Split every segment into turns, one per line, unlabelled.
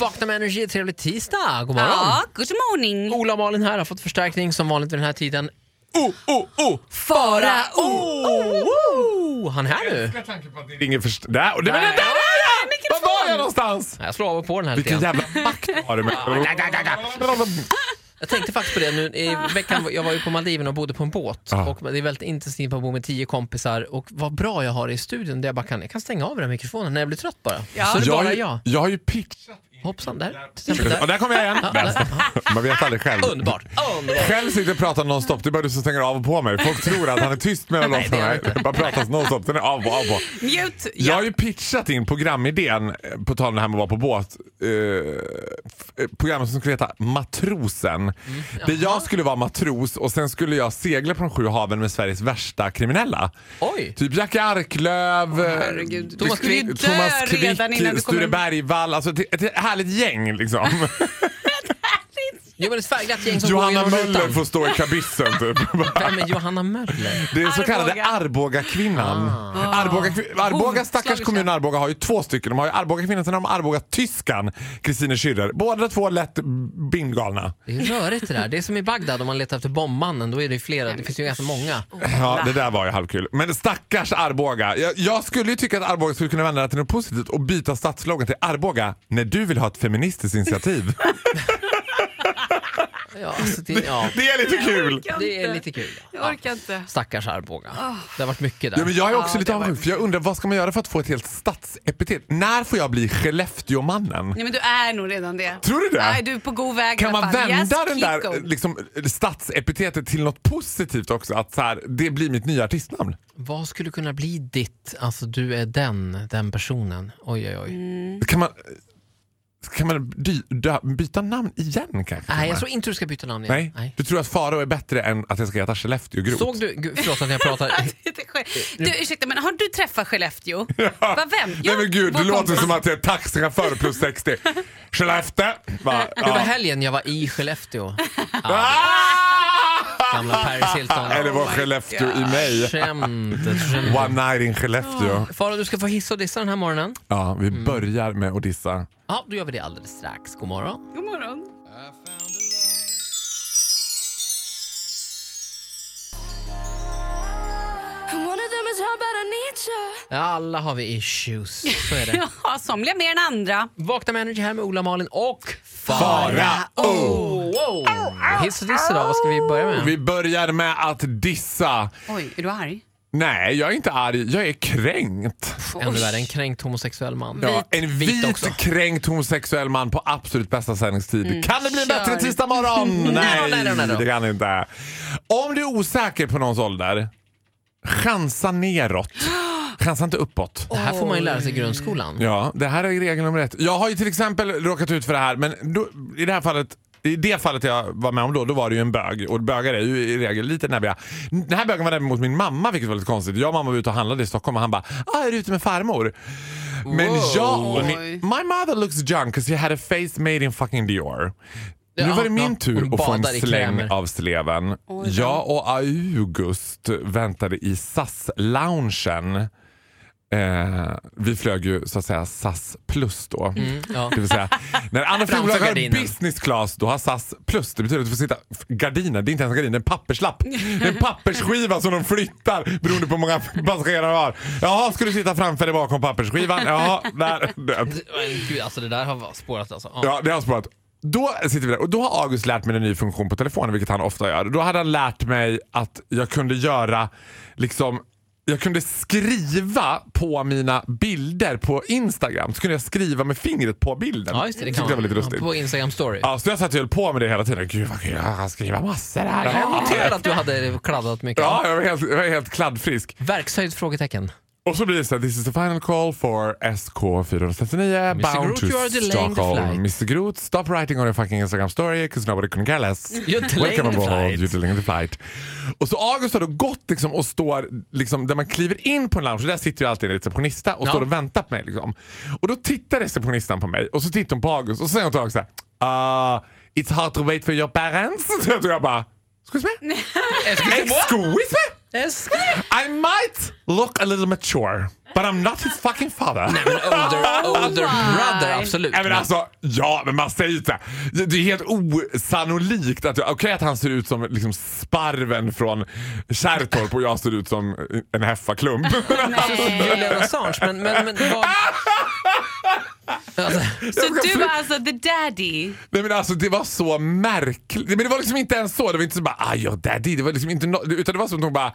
Vakna med Energy, trevlig tisdag! God morgon!
Ja, good morning.
Ola och Malin här har fått förstärkning som vanligt vid den här tiden. Oh, oh, oh! Fara, oh, oh, oh. Han är här nu.
älskar tanken på att det ringer först... Där! Och det, men det där var jag! Var var jag någonstans?
Jag slår av och på den här lite
Vilken
grann.
jävla makt har du med?
Jag tänkte faktiskt på det nu i
Ah.
veckan. Jag var ju på Maldiven och bodde på en båt. Och det är väldigt intensivt att bo med tio kompisar. Och vad bra jag har i studion där jag bara kan, jag kan stänga av den här mikrofonen när jag blir trött bara.
Ja.
Så är det
Jag, har
bara
ju-
jag.
jag har ju pitchat in...
Hoppsan, där. Till exempel
Och
där.
där kommer jag igen. Man vet aldrig själv.
Underbart! Underbart!
Själv sitter och pratar nonstop. Det är bara du som stänger av och på mig. Folk tror att han är tyst med och
Nej,
låtsas
det är
mig.
jag inte.
Bara pratas nonstop. Den är av och av och på.
Mute.
Jag
Ja.
har ju pitchat in programidén, eh, på tal om det här med att vara på båt, eh, f- eh, programmet som skulle heta Matrosen.
Mm.
Där jag skulle vara matros och sen skulle jag segla på de sju haven med Sveriges värsta kriminella.
Oj!
Typ Jackie Arklöv, eh,
herregud.
det-
Thomas Quick.
Du skulle ju dö
Thomas
redan innan du
Quick,
kommer-
Sture Bergvall. Alltså ett, ett härligt gäng liksom.
Jo men ett färgglatt gäng som går
Johanna
genom
Möller
rutan.
får stå i kabyssen typ.
Vem är Johanna Möller?
Det är så
Arboga.
kallade Arbogakvinnan.
Ah.
Arboga, Arboga, stackars
Slagerska.
kommun Arboga har ju två stycken. De har ju Arbogakvinnan sen har de Arbogatyskan, Kristine Schürrer. Båda två lätt bindgalna.
Det är rörigt det där. Det är som i Bagdad om man letar efter bombmannen. Då är det ju flera. Det finns ju ganska många.
Ja, det där var ju halvkul. Men stackars Arboga. Jag, jag skulle ju tycka att Arboga skulle kunna vända det till något positivt och byta stadslogan till Arboga när du vill ha ett feministiskt initiativ.
Ja, alltså, det, ja,
det är lite kul!
det är lite kul.
Jag
Ja.
orkar inte.
Stackars Arboga. Det har varit mycket
Ja, men
där.
jag är också lite avundsjuk för jag undrar vad ska man göra för att få ett helt stadsepitet? När får jag bli Skellefteåmannen?
Nej men du är nog redan det.
Tror du det?
Nej, du är på god väg i
Kan
alla
man
fall.
vända
Yes,
den
keep
där
going.
liksom, stadsepitetet till något positivt också? Att så här, det blir mitt nya artistnamn.
Vad skulle kunna bli ditt, alltså du är den, den personen. Oj, oj, oj.
Mm.
Kan man, kan man dy, dö, byta namn igen kanske?
Nej, jag tror inte du ska byta namn igen.
Nej? Du tror att Faro är bättre än att jag ska heta Skellefteå Groth?
Såg du, gud, förlåt att jag pratar.
Det är skönt. Du, ursäkta, men har du träffat Skellefteå? Vad vem?
Nej men gud,
vår
det låter
kompis.
som att jag är taxichaufför plus 60. Skellefteå! Va?
Det var
Ja.
helgen jag var i Skellefteå.
Ah!
Gamla Paris Hilton.
Eller var Skellefteå i mig?
Skämtet.
One night in Skellefteå.
Farao, du ska få hissa och dissa den här morgonen.
Ja, vi
Mm.
börjar med att dissa.
Ja, då gör vi det alldeles strax. God morgon.
God morgon.
Ja, alla har vi issues. Så är det.
Ja, somliga mer än andra.
Vakna med Energy här med Ola, Malin och
Farao!
Wow. Hiss och diss idag, vad ska vi börja med?
Vi börjar med att dissa.
Oj, är du arg?
Nej, jag är inte arg. Jag är kränkt.
Ännu värre, en kränkt homosexuell man.
Ja, en
Vit
vit,
också.
kränkt homosexuell man på absolut bästa sändningstid. Kan det bli en
Kör.
bättre tisdag morgon? nej,
nej, nej, nej, nej.
det kan det inte. Om du är osäker på någons ålder, chansa neråt. Chansa inte uppåt.
Det här får man ju lära sig i grundskolan.
Ja, det här är regel nummer ett. Jag har ju till exempel råkat ut för det här, men då, i det här fallet i det fallet jag var med om då, då var det ju en bög. Och bögar är ju i regel lite näbbiga. Den här bögen var däremot min mamma, vilket var lite konstigt. Jag och mamma var ute och handlade i Stockholm och han bara ah, “Är du ute med farmor?” Men jag... och ni-
Oj.
My mother looks drunk because she had a face made in fucking Dior. nu var det
Ja,
min
ja.
tur
Hon
att få en
badar i
släng
krämer.
av sleven. Jag och August väntade i SAS-loungen. Eh, vi flög ju så att säga SAS plus då.
ja.
Det vill säga, när andra flygbolag har
gardinen.
business class då har SAS plus. Det betyder att du får sitta... f- Gardiner, det är inte ens en gardin, det är en papperslapp. Det är en pappersskiva som de flyttar beroende på hur många passagerare du har. Jaha, ska du sitta framför eller bakom pappersskivan? Jaha, där. död.
Men Gud, alltså det där har spårat alltså. Ja.
Ja, det har spårat. Då sitter vi där och då har August lärt mig en ny funktion på telefonen, vilket han ofta gör. Då hade han lärt mig att jag kunde göra liksom jag kunde skriva på mina bilder på Instagram. Så kunde jag skriva med fingret på bilden.
ja, just det. Det
tyckte
kan
jag var lite
man.
lustigt.
På e- Instagram story.
Ja, så jag satt och höll på med det hela tiden. Gud vad kul, jag kan skriva massor här.
Jag noterade
Ja,
att du hade kladdat mycket.
ja jag, var helt, jag var helt kladdfrisk.
Verkshöjd? Frågetecken.
Och så blir det så här, this is the final call for SK439
Mr.
bound
Groth,
to
you are delaying the
Stockholm.
flight.
Mr Groth, stop writing on your fucking Instagram story because nobody can care less.
You're delaying
Welcome
the
aboard,
flight.
you're delaying the flight. Och så August har då gått liksom och står liksom där man kliver in på en lounge, där sitter ju alltid en receptionista och
Ja.
står och väntar på mig. Liksom. Och då tittar receptionisten på mig och så tittar hon på August och så säger hon till August så här, uh, It's hard to wait for your parents. Så jag bara, excuse me?
Excuse me?
Excuse me?
S.
I might look a little mature, but I'm not his fucking father.
Men older, older
my.
brother, absolut.
Oh Nej, men alltså, ja, men man säger ju inte det. Det är helt osannolikt att, okej att han ser ut som liksom sparven från Kärrtorp och jag ser ut som en heffaklump.
Julian Assange, men, men, men vad... Alltså,
Så du var alltså the daddy?
Nej men alltså det var så märkligt. Men det var liksom inte ens så. Det var inte så bara ah, your daddy. Det var liksom inte no utan det var som att hon bara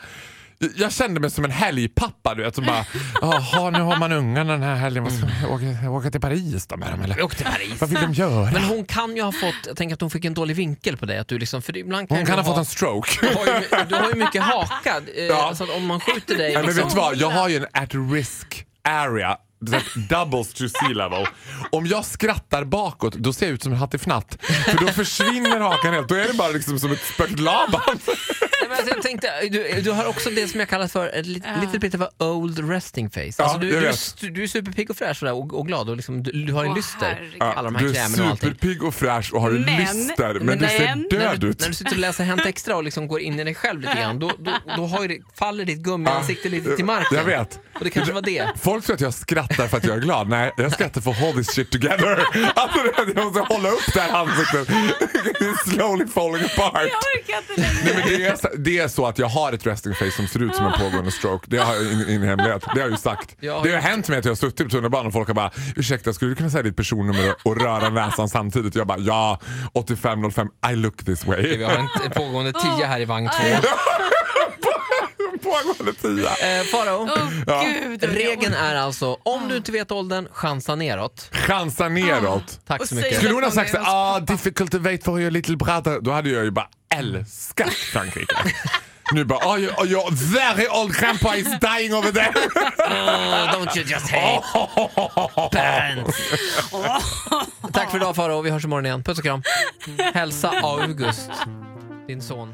jag kände mig som en helgpappa du vet som bara jaha nu har man ungarna den här helgen. Vad ska man åka, åka till Paris då med dem eller?
åk till Paris.
Vad vill de göra?
Men hon kan ju ha fått, jag tänker att hon fick en dålig vinkel på dig. Att du liksom, för ibland kan
Hon
ju
kan ha fått en stroke.
Du har ju, du har ju mycket haka, eh,
Ja.
så att om man skjuter dig...
Nej, men
liksom-
vet du vad? Jag har ju en at risk area. så att Doubles to sea level. Om jag skrattar bakåt då ser jag ut som en hattifnatt. För då försvinner hakan helt. Då är det bara liksom som ett spökt Laban.
Nej, men alltså, jag tänkte, du, du har också det som jag kallar för ett lit, lite bit av a old resting face. alltså, du,
jag
du, är
vet.
stu- du är superpigg och fräsch sådär, och, och glad och liksom, du, du har en
Åh,
lyster.
herregud.
alla de här
Du är
krämerna och allting.
superpigg och fräsch och har en
Men-
lyster men,
men
du
när-
ser
När
död
du,
ut.
när du sitter och läser Hänt Extra och liksom går in i dig själv lite grann, då, då, då har ju det, faller ditt gummiansikte lite till marken.
Jag vet.
Och det kanske var det.
Folk tror att jag skrattar för att jag är glad. Nej, jag skrattar för hold this shit together. Alltså, jag måste hålla upp det här ansiktet. It's slowly falling apart.
Jag orkar inte längre.
Nej, men det, är, så- det är så att jag har ett resting face som ser ut som en pågående stroke. Det har jag in, in i hemlighet. Det har jag ju sagt.
Ja,
det har hänt mig att jag har suttit på tunnelbanan och folk har bara ursäkta skulle du kunna säga ditt personnummer och- och röra näsan samtidigt? Jag bara ja 8505 I look this
Vi
way.
har en t- pågående tia här i vagn två.
Pågående tia.
Eh, Farao,
Åh gud. vad jag
regeln är alltså om du inte vet åldern, chansa neråt.
Chansa neråt.
Ah, Tack
Och
så
säg-
mycket.
Skulle hon ha sagt så,
Hon är
ah,
hans pappa."
difficult to wait for your little brother, då hade jag ju bara älskat Frankrike. nu bara, oh, your, your very old grandpa is dying over there.
Oh, don't you just hate parents. Tack för idag Farao, vi hörs imorgon igen. Puss och kram. Hälsa August, din son.